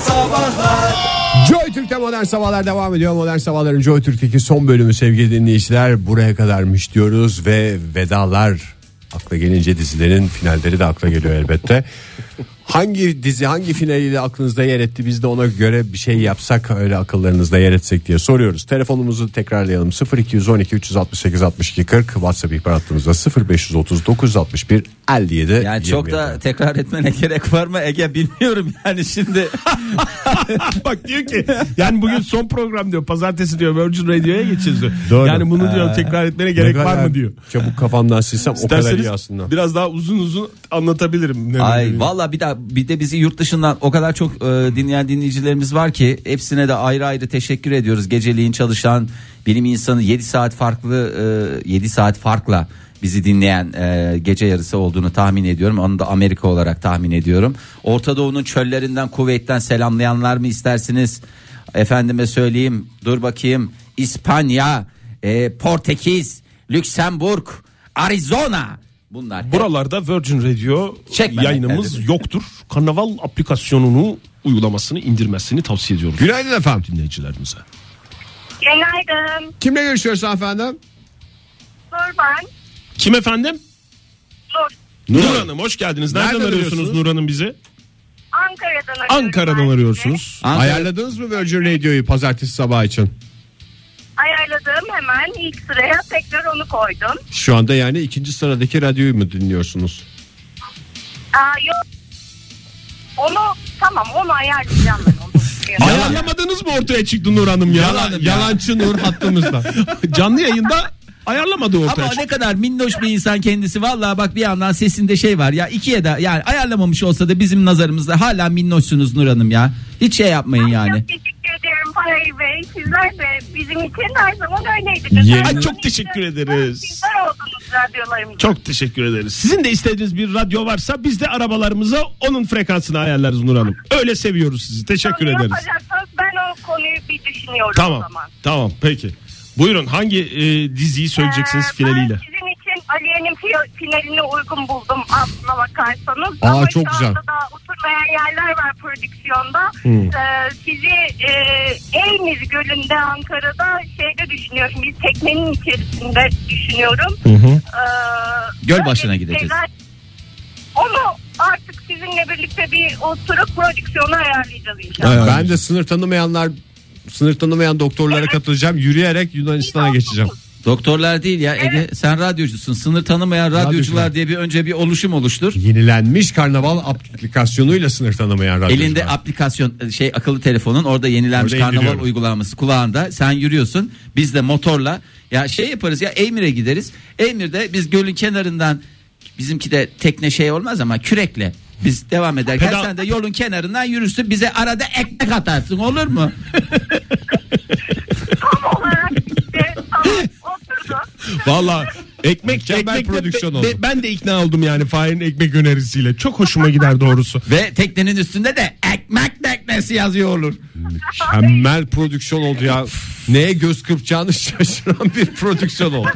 Sabahlar Joy Türk'te modern sabahlar devam ediyor. Modern sabahların Joy Türk'teki son bölümü sevgili dinleyiciler. Buraya kadarmış diyoruz ve vedalar akla gelince dizilerin finalleri de akla geliyor elbette. Hangi dizi hangi finaliyle aklınızda yer etti biz de ona göre bir şey yapsak öyle akıllarınızda yer etsek diye soruyoruz. Telefonumuzu tekrarlayalım 0212 368 62 40 WhatsApp ihbar hattımızda 0530 961 57 Yani çok 27. da tekrar etmene gerek var mı Ege bilmiyorum yani şimdi. Bak diyor ki yani bugün son program diyor. Pazartesi diyor Virgin Radio'ya geçeceğiz diyor. Doğru. Ee, Yani bunu diyor tekrar etmene Ne gerek var kadar mı diyor. Çabuk kafamdan silsem o kadar iyi Derseniz aslında. biraz daha uzun uzun anlatabilirim. Ne Ay dediğini. valla bir de bir de bizi yurt dışından o kadar çok e, dinleyen dinleyicilerimiz var ki hepsine de ayrı ayrı teşekkür ediyoruz. Geceliğin çalışan bilim insanı 7 saat farklı e, 7 saat farkla bizi dinleyen e, gece yarısı olduğunu tahmin ediyorum. Onu da Amerika olarak tahmin ediyorum. Orta Doğu'nun çöllerinden Kuveyt'ten selamlayanlar mı istersiniz? Efendime söyleyeyim. Dur bakayım. İspanya, e, Portekiz, Lüksemburg, Arizona. Bunlar hep- Buralarda Virgin Radio Çekmemektedir. yayınımız yoktur. Karnaval aplikasyonunu uygulamasını indirmesini tavsiye ediyoruz Günaydın efendim. dinleyicilerimize. Günaydın. Kimle görüşüyoruz efendim? Dur ben. Kim efendim? Dur. Nur Hanım hoş geldiniz. Nereden, Nereden arıyorsunuz arıyorsunuz? Nur Hanım bizi? Ankara'dan arıyorum. ben Ankara'dan sizi. arıyorsunuz. Ankara- Ayarladınız mı Virgin Radio'yu pazartesi sabahı için? Ayarladığım hemen ilk sıraya tekrar onu koydum. Şu anda yani ikinci sıradaki radyoyu mu dinliyorsunuz? Aa, yok. Onu tamam onu ayarlayacağım ben onu. Ayarlamadınız mı ortaya çıktı Nur Hanım ya? Yalan- yalancı Nur hattımızda. Canlı yayında ayarlamadı ortaya Ama çıktı. ne kadar minnoş bir insan kendisi. Vallahi bak bir yandan sesinde şey var ya. ikiye de yani ayarlamamış olsa da bizim nazarımızda hala minnoşsunuz Nur Hanım ya. Hiç şey yapmayın yani. Çok teşekkür ederim Fahir Bey. Sizler de bizim için her zaman öyleydiniz. Yemin- Her zaman Ay, çok için teşekkür ederiz. Sizler oldunuz radyolarımızda. Çok teşekkür ederiz. Sizin de istediğiniz bir radyo varsa biz de arabalarımıza onun frekansını ayarlarız Nur Hanım. Öyle seviyoruz sizi. Teşekkür Onu ederiz. yapacaksanız Ben o konuyu bir düşünüyorum o Tamam. zaman. Tamam peki. Buyurun hangi e, diziyi söyleyeceksiniz Ee, finaliyle? Ben sizin için Aliye'nin fi- finaline uygun buldum aslına bakarsanız. Aa, Ama çok şu güzel. anda da oturmayan yerler var prodüksiyonda. Ee, sizi e, Eğniz Gölü'nde Ankara'da şeyde düşünüyorum. Bir teknenin içerisinde düşünüyorum. Ee, Göl öyle başına bir gideceğiz. şeyler- Onu artık sizinle birlikte bir oturup prodüksiyonu ayarlayacağız inşallah. ben de sınır tanımayanlar sınır tanımayan doktorlara katılacağım. Yürüyerek Yunanistan'a geçeceğim. Doktorlar değil ya Ege. Sen radyocusun. Sınır tanımayan radyocular Radyocular. diye bir önce bir oluşum oluştur. Yenilenmiş karnaval aplikasyonuyla sınır tanımayan radyocular. Elinde aplikasyon e, şey akıllı telefonun orada yenilenmiş Orada karnaval indiriyorum. uygulaması kulağında sen yürüyorsun biz de motorla ya şey yaparız ya Emir'e gideriz Emir'de biz gölün kenarından bizimki de tekne şey olmaz ama kürekle biz devam ederken Pedal- sen de yolun kenarından yürürsün bize arada ekmek atarsın olur mu? Tam olarak işte tam oturduk. Valla E, ekmek Mükemmel ekmek prodüksiyon be- oldu. be- ben de ikna oldum yani Fahir'in ekmek önerisiyle. Çok hoşuma gider doğrusu. Ve teknenin üstünde de ekmek teknesi yazıyor olur. Mükemmel prodüksiyon oldu ya. Neye göz kırpacağını şaşıran bir prodüksiyon oldu.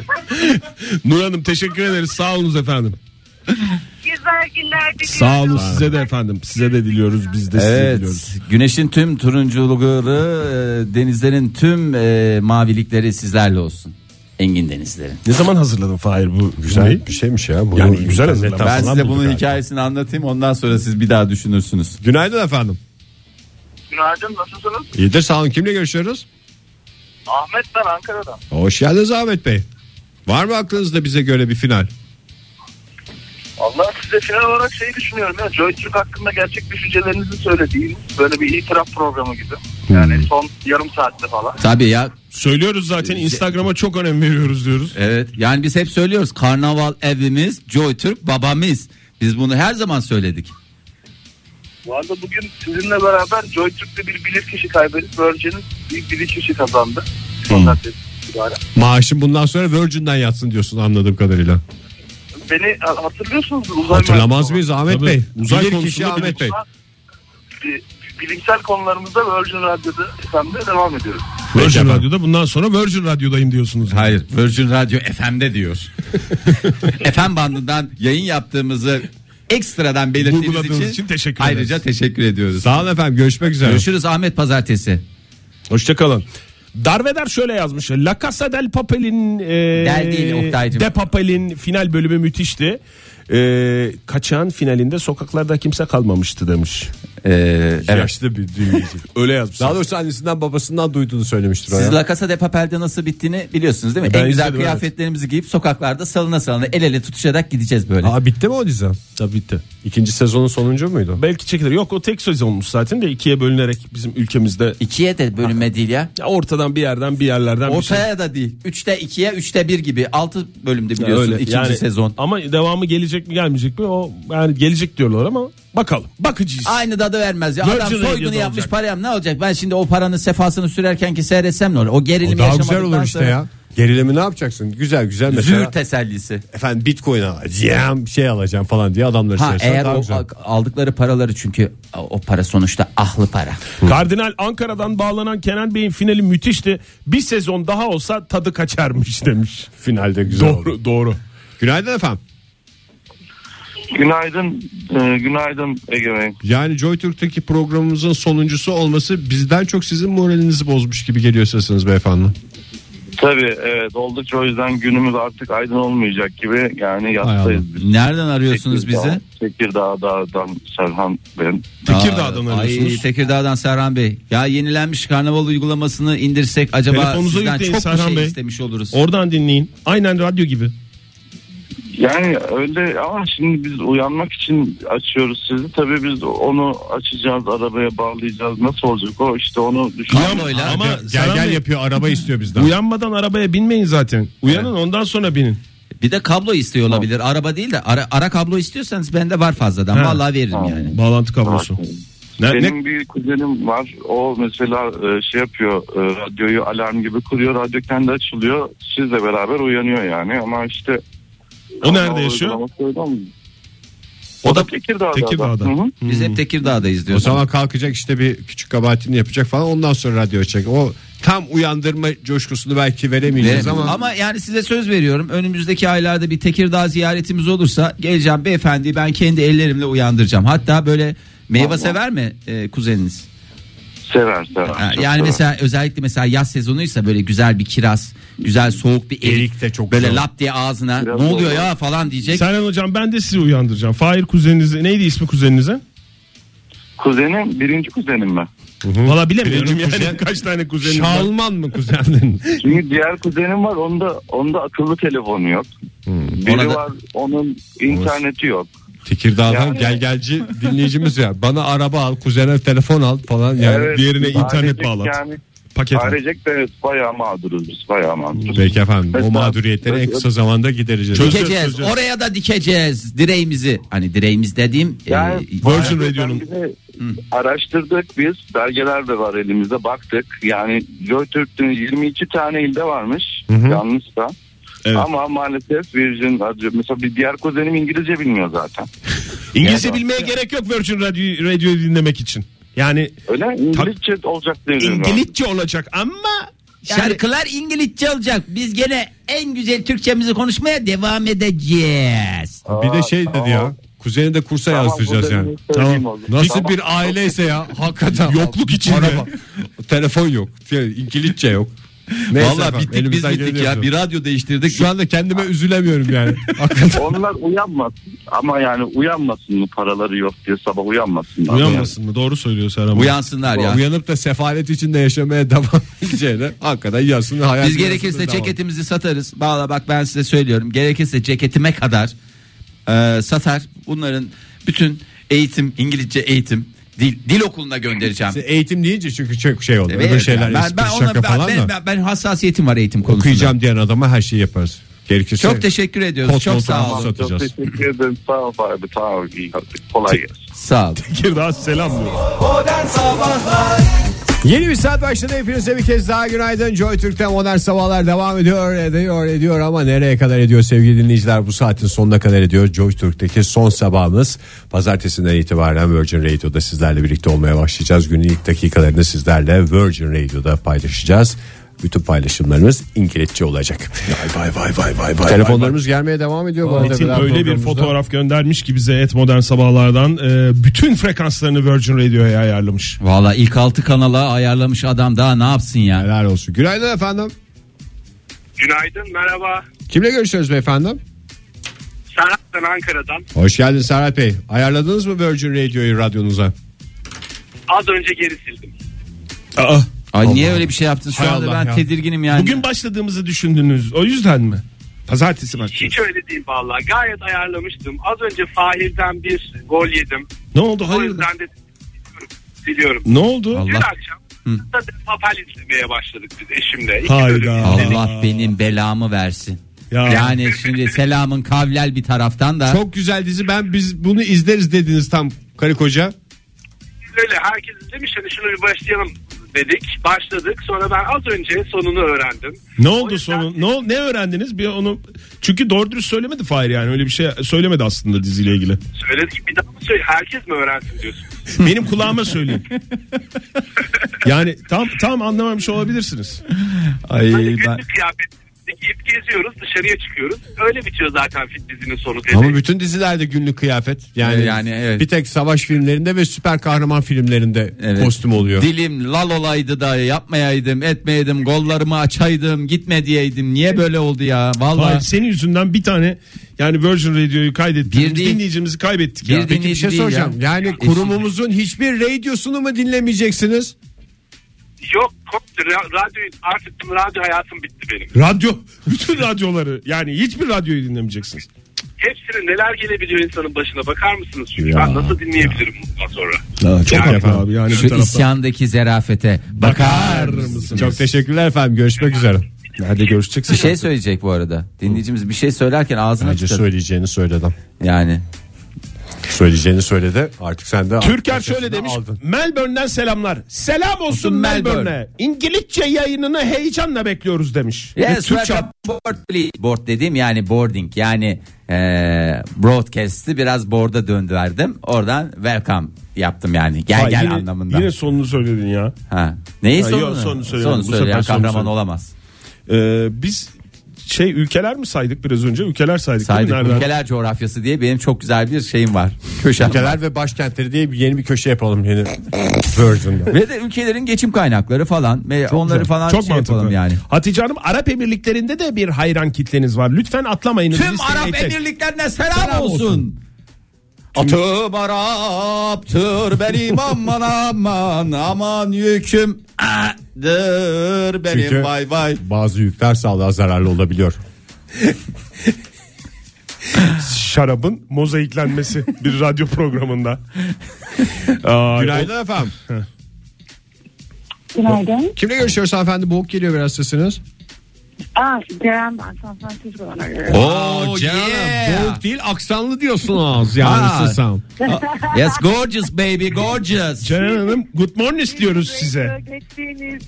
Nur Hanım teşekkür ederiz. Sağ olunuz efendim. Güzel günler diliyorum. Sağ olun size de efendim. Size de diliyoruz. Biz de size diliyoruz. Evet. Güneşin tüm turunculuğu, e, denizlerin tüm e, mavilikleri sizlerle olsun. Engin denizlerin. Ne zaman hazırladın Fahir bu güzel? bir şeymiş ya. Bu Yani güzel hazırlanmış. Ben Falan size bulduk bunun herhalde. hikayesini anlatayım ondan sonra siz bir daha düşünürsünüz. Günaydın efendim. Günaydın nasılsınız? İyidir sağ olun. Kimle görüşüyoruz? Ahmet ben Ankara'dan. Hoş geldiniz Ahmet Bey. Var mı aklınızda bize göre bir final? Allah size final olarak şey düşünüyorum ya. Joy Türk hakkında gerçek düşüncelerinizi söylediğiniz böyle bir itiraf programı gibi. Hmm. Yani son yarım saatte falan. Tabii ya Söylüyoruz Ee, zaten Instagram'a çok önem veriyoruz diyoruz. evet yani biz hep söylüyoruz karnaval evimiz Joy Türk babamız. Biz bunu her zaman söyledik. Bu arada bugün sizinle beraber Joy Türk'te bir bilirkişi kaybedip Virgin'in bir bilirkişi kazandı. Son Hmm. dakika itibaren. Maaşım bundan sonra Virgin'den yatsın diyorsun anladığım kadarıyla. Beni ha- hatırlıyorsunuz mu? Uzay Hatırlamaz mühendisi mıyız Ahmet Tabii. Bey? Uzay Bilir konusunda kişi Ahmet Bey. bilir. olarak bi- Bilimsel konularımızda Virgin Radyo'da efendim devam ediyoruz. Virgin Peki efendim. Radyo'da bundan sonra Virgin Radyo'dayım diyorsunuz. Hayır Virgin Radyo FM'de diyor. FM bandından yayın yaptığımızı ekstradan belirttiğiniz Vurguladığınız için, için teşekkür ederiz. ayrıca teşekkür ediyoruz. Sağ olun efendim görüşmek üzere. Görüşürüz Ahmet Pazartesi. Hoşçakalın. Darveder şöyle yazmış. La Casa del Papel'in e, Del değil Oktay'cım. De Papel'in final bölümü müthişti. E, kaçağın finalinde sokaklarda kimse kalmamıştı demiş. Ee, evet. Yaşlı bir dinleyici. Öyle yazmış. Daha doğrusu annesinden babasından duyduğunu söylemiştir o Siz ya. La Casa de Papel'de nasıl bittiğini biliyorsunuz değil mi? E Ben en güzel izledim, kıyafetlerimizi giyip sokaklarda salına salına el ele tutuşarak gideceğiz böyle. Aa bitti mi o dizi? Tabii bitti. İkinci sezonun sonuncu muydu? Belki çekilir. Yok o tek söz olmuş zaten de ikiye bölünerek bizim ülkemizde İkiye de bölünme değil ya. Ya ortadan bir yerden bir yerlerden bir şey. Ortaya da değil. Üçte ikiye, üçte bir gibi. Altı bölümde Ya biliyorsun öyle. ikinci Yani sezon. Ama devamı gelecek mi gelmeyecek mi? O yani gelecek diyorlar ama bakalım. Bakacağız. Aynı dadı vermez ya. Virgin Adam Radio'da soygunu yapmış olacak. param ne olacak? Ben şimdi o paranın sefasını sürerken ki seyretsem ne olur? O O gerilimi daha yaşamadıktan güzel olur işte sonra- ya. Gerilimi ne yapacaksın? Güzel güzel mesela. Züğür tesellisi. efendim bitcoin alacağım şey alacağım falan diye adamlar Ha söylesin. eğer Daha o güzel. aldıkları paraları çünkü o para sonuçta ahlı para. Kardinal Ankara'dan bağlanan Kenan Bey'in finali müthişti. Bir sezon daha olsa tadı kaçarmış demiş. finalde güzel Doğru oldu. doğru. Günaydın efendim. Günaydın, e, günaydın Ege Bey. Yani Joy Türk'teki programımızın sonuncusu olması bizden çok sizin moralinizi bozmuş gibi geliyor sesiniz beyefendi. Tabii evet oldukça o yüzden günümüz artık aydın olmayacak gibi yani Allah. yastayız. biz. Nereden arıyorsunuz Tekirdağ- bizi? Tekirdağ Dağ'dan Serhan ben. Tekirdağ'dan Aa, Ay, arıyorsunuz. Tekirdağ'dan Serhan Bey. Ya yenilenmiş karnaval uygulamasını indirsek acaba Telefonunuza sizden yükleyin çok bir Serhan şey Bey. istemiş oluruz. Oradan dinleyin. Aynen radyo gibi. Yani öyle ama şimdi biz uyanmak için açıyoruz sizi. Tabii biz onu açacağız, arabaya bağlayacağız. Nasıl olacak o? işte onu düşün. Kabloyla. Ama Gel Serhan gel, Bey- yapıyor araba istiyor bizden. Uyanmadan arabaya binmeyin zaten. Uyanın ondan sonra binin. Bir de kablo istiyor olabilir. Araba değil de ara, ara kablo istiyorsanız bende var fazladan. Ha. Vallahi veririm yani. Bağlantı kablosu. Ne, ne- Benim bir kuzenim var. O mesela e, şey yapıyor. e, Radyoyu alarm gibi kuruyor. Radyo kendi açılıyor. Sizle beraber uyanıyor yani. Ama işte o nerede yaşıyor? uygulaması öyle olmuyor. O da Tekirdağ'da. Tekirdağ'da. Hı hı. Biz hep Tekirdağ'dayız Hmm. O diyoruz. zaman kalkacak işte bir küçük kabahatini yapacak falan ondan sonra radyo açacak. O tam uyandırma coşkusunu belki veremeyeceğiz Veremez. ama, ama... yani size söz veriyorum önümüzdeki aylarda bir Tekirdağ ziyaretimiz olursa geleceğim beyefendi ben kendi ellerimle uyandıracağım. Hatta böyle meyve Vallahi. sever mi e, kuzeniniz? Sever sever. Ha, çok yani sever. mesela özellikle mesela yaz sezonuysa böyle güzel bir kiraz, güzel soğuk bir erik, Erik de çok böyle güzel. lap diye ağzına Biraz ne oluyor doğru. ya falan diyecek. Serhan hocam ben de sizi uyandıracağım. Fahir kuzeninize neydi ismi kuzeninize? Kuzenim birinci kuzenim ben. Valla bilemiyorum Birinci yani kuzen- kaç tane kuzeniniz var. Şalman mı kuzenin? Çünkü diğer kuzenim var. Onda onda akıllı telefonu yok. Biri Hmm. Ona da- var. Onun interneti yok. Tekirdağ'dan Yani- gel gelci dinleyicimiz ya. Bana araba al, kuzene telefon al falan yani. Evet, diğerine internet ailecek bağlat. Yani, Paket. al. ailecek de evet, bayağı mağduruz biz. Bayağı mağduruz. Peki efendim o Mesela- mağduriyetleri en kısa zamanda gidereceğiz. Çöz- Dikeceğiz çözeceğiz. oraya da dikeceğiz direğimizi hani direğimiz dediğim Yani- e, Virgin Ayrıca Radio'nun- bir de Araştırdık biz. Belgeler de var elimizde. Baktık. Yani JoyTürk'ün 22 tane ilde varmış. Yanlış da. Evet. Ama maalesef Virgin Radyo. Mesela bir diğer kuzenim İngilizce bilmiyor zaten. İngilizce bilmeye gerek yok Virgin Radio, Radio'yu dinlemek için. Yani Öyle İngilizce olacak diye düşünüyorum. İngilizce olacak ama yani Şarkılar İngilizce olacak. Biz gene en güzel Türkçemizi konuşmaya devam edeceğiz. Bir de şey dedi ya. Kuzeni de kursa Tamam, yazdıracağız burada yani. bir şey söyleyeyim o zaman. Nasıl Tamam. bir aileyse ya hakikaten. Yokluk içinde. Telefon yok. Yani İngilizce yok. Vallahi efendim, bittik biz elimizden bittik geleni ya. yapıyoruz. Bir radyo değiştirdik. Şu anda kendime üzülemiyorum yani. Hakikaten. Onlar uyanmasın. Ama yani uyanmasın mı paraları yok diye sabah uyanmasınlar. uyanmasın mı? Doğru söylüyor Serhan. Bey. Uyansınlar ya. Uyanıp da sefalet içinde yaşamaya devam edeceğine hakikaten yazsın hayatını. Biz gerekirse ceketimizi satarız. Valla bak ben size söylüyorum. Gerekirse ceketime kadar e, satar. Bunların bütün eğitim İngilizce eğitim dil, dil okuluna göndereceğim. Eğitim deyince çünkü çok şey oldu. Öyle Evet, şeyler yani ben, espri ben, ona- ben- şaka falan ben, da. ben- ben hassasiyetim var eğitim konusunda. Okuyacağım diyen adama her şeyi yaparız. Gerekirse. Çok teşekkür ediyoruz. Pot Çok notu sağ olun. alsın. Çok Satacağız. teşekkür ederim. Sağ ol abi. Sağ ol. İyi yaptık. Kolay gelsin. Sağ olun. Tekirdağ selam diyor. Yeni bir saat başladı. Hepinize bir kez daha günaydın. Joy Türk'ten modern sabahlar devam ediyor, ediyor, ediyor ama nereye kadar ediyor sevgili dinleyiciler? Bu saatin sonuna kadar ediyor. Joy Türk'teki son sabahımız. Pazartesinden itibaren Virgin Radio'da sizlerle birlikte olmaya başlayacağız. Günün ilk dakikalarını sizlerle Virgin Radio'da paylaşacağız. bütün paylaşımlarınız İngilizce olacak. Vay vay vay vay vay. Telefonlarımız gelmeye devam ediyor. bu arada Metin Veda Öyle bir programımızda. fotoğraf göndermiş ki bize et modern sabahlardan e, bütün frekanslarını Virgin Radio'ya ayarlamış. Valla ilk altı kanala ayarlamış adam daha ne yapsın ya. Helal olsun. Günaydın efendim. Günaydın merhaba. Kimle görüşüyoruz beyefendim? Serhat'tan Ankara'dan. Hoş geldin Serhat Bey. Ayarladınız mı Virgin Radio'yu radyonuza? Az önce geri sildim. Aa, Ay niye öyle bir şey yaptın? Şu Hay anda Allah ben ya. tedirginim yani. bugün başladığımızı düşündünüz. O yüzden mi? Pazartesi başlıyor. Hiç öyle değil vallahi. Gayet ayarlamıştım. Az önce Fahir'den bir gol yedim. Ne oldu? O Hayırdır? yüzden de biliyorum. Ne oldu? Dün Allah, akşam da papel izlemeye başladık biz eşimle. İki Hayda. bölüm izledik. Allah benim belamı versin. Ya. Yani şimdi selamın kavlel bir taraftan da. Çok güzel dizi. Ben biz bunu izleriz dediniz tam karı koca. Öyle herkes izlemiş hani şunu bir başlayalım dedik. Başladık. Sonra ben az önce sonunu öğrendim. Ne O oldu yüzden- sonu? Ne ol- ne öğrendiniz? Bir onu çünkü doğru dürüst söylemedi Fahir yani öyle bir şey söylemedi aslında diziyle ilgili. Söyledik bir daha mı söyle? Herkes mi öğrensin diyorsun? Benim kulağıma söyleyin. yani tam tam anlamamış olabilirsiniz. Ay, Hani ben- günlük kıyafet giyip geziyoruz dışarıya çıkıyoruz. Öyle bitiyor zaten fit dizinin sonu dedi. Ama bütün dizilerde günlük kıyafet. Yani, Yani evet. bir tek savaş filmlerinde ve süper kahraman filmlerinde Evet. kostüm oluyor. Dilim lal olaydı da yapmayaydım, etmeyeydim, gollarımı açaydım, gitme diyeydim. Niye böyle oldu ya? Fahir Vallahi senin yüzünden bir tane yani Virgin Radio'yu kaydettik. Bir değil. dinleyicimizi kaybettik Bir ya. değil. Peki bir dinleyici şey değil soracağım. ya. Yani Eşit. kurumumuzun hiçbir radyosunu mu dinlemeyeceksiniz? Yok koptu. Ra- Radyo, artık tüm radyo hayatım bitti benim. Radyo bütün radyoları yani hiçbir radyoyu dinlemeyeceksiniz. Hepsinin neler gelebiliyor insanın başına bakar mısınız? Çünkü ben nasıl dinleyebilirim bundan sonra? çok haklı abi yani bir şu taraftan. isyandaki zerafete bakar mısınız? Çok teşekkürler efendim. Görüşmek üzere. Nerede görüşeceksin? Bir şey söyleyecek bu arada. Dinleyicimiz bir şey söylerken ağzına Bence çıkar. söyleyeceğini söyledim. Yani Söyleyeceğini söyledi. Artık sen de Türker şöyle demiş. Aldın. Melbourne'den selamlar. Selam olsun Melbourne. Melbourne'e. İngilizce yayınını heyecanla bekliyoruz demiş. Ve Yes, Türkçe welcome board, please. board dediğim yani boarding yani eee broadcast'i biraz board'a döndürdüm. Oradan welcome yaptım yani. Gel Ay, gel yine, anlamında. Yine sonunu söyledin ya. ha. Neyi Ha, sonunu? yok, sonunu söylemedim. Sonunu Bu sefer söyleyen sonunu kahraman söyledim. olamaz. Ee, biz şey ülkeler mi saydık biraz önce? Ülkeler saydık. değil mi? Saydık Nereden? ülkeler coğrafyası diye benim çok güzel bir şeyim var. Köşem. var. Ülkeler ve başkentleri diye bir- yeni bir köşe yapalım yeni Virgin'de. Ve de ülkelerin geçim kaynakları falan. Ve onları falan Çok şey mantıklı. yapalım yani. Hatice Hanım Arap Emirlikleri'nde de bir hayran kitleniz var. Lütfen atlamayın. Tüm Biz Arap istemeyiz. Emirliklerine selam, olsun. Atım Arap'tır benim aman aman aman yüküm a'dır benim Çünkü- vay vay. Bazı yükler sağlığa zararlı olabiliyor. Şarabın mozaiklenmesi bir radyo programında. Aa, Günaydın efendim. Günaydın. Kimle görüşüyoruz efendim? Boğuk geliyor biraz sesiniz. Aa, Ceren ben San Francisco'dan arıyorum. Oh yeah. Boğuk değil aksanlı diyorsunuz yani Ha. siz sen. Yes gorgeous baby gorgeous. Ceren Hanım good morning istiyoruz size. Geçtiğiniz,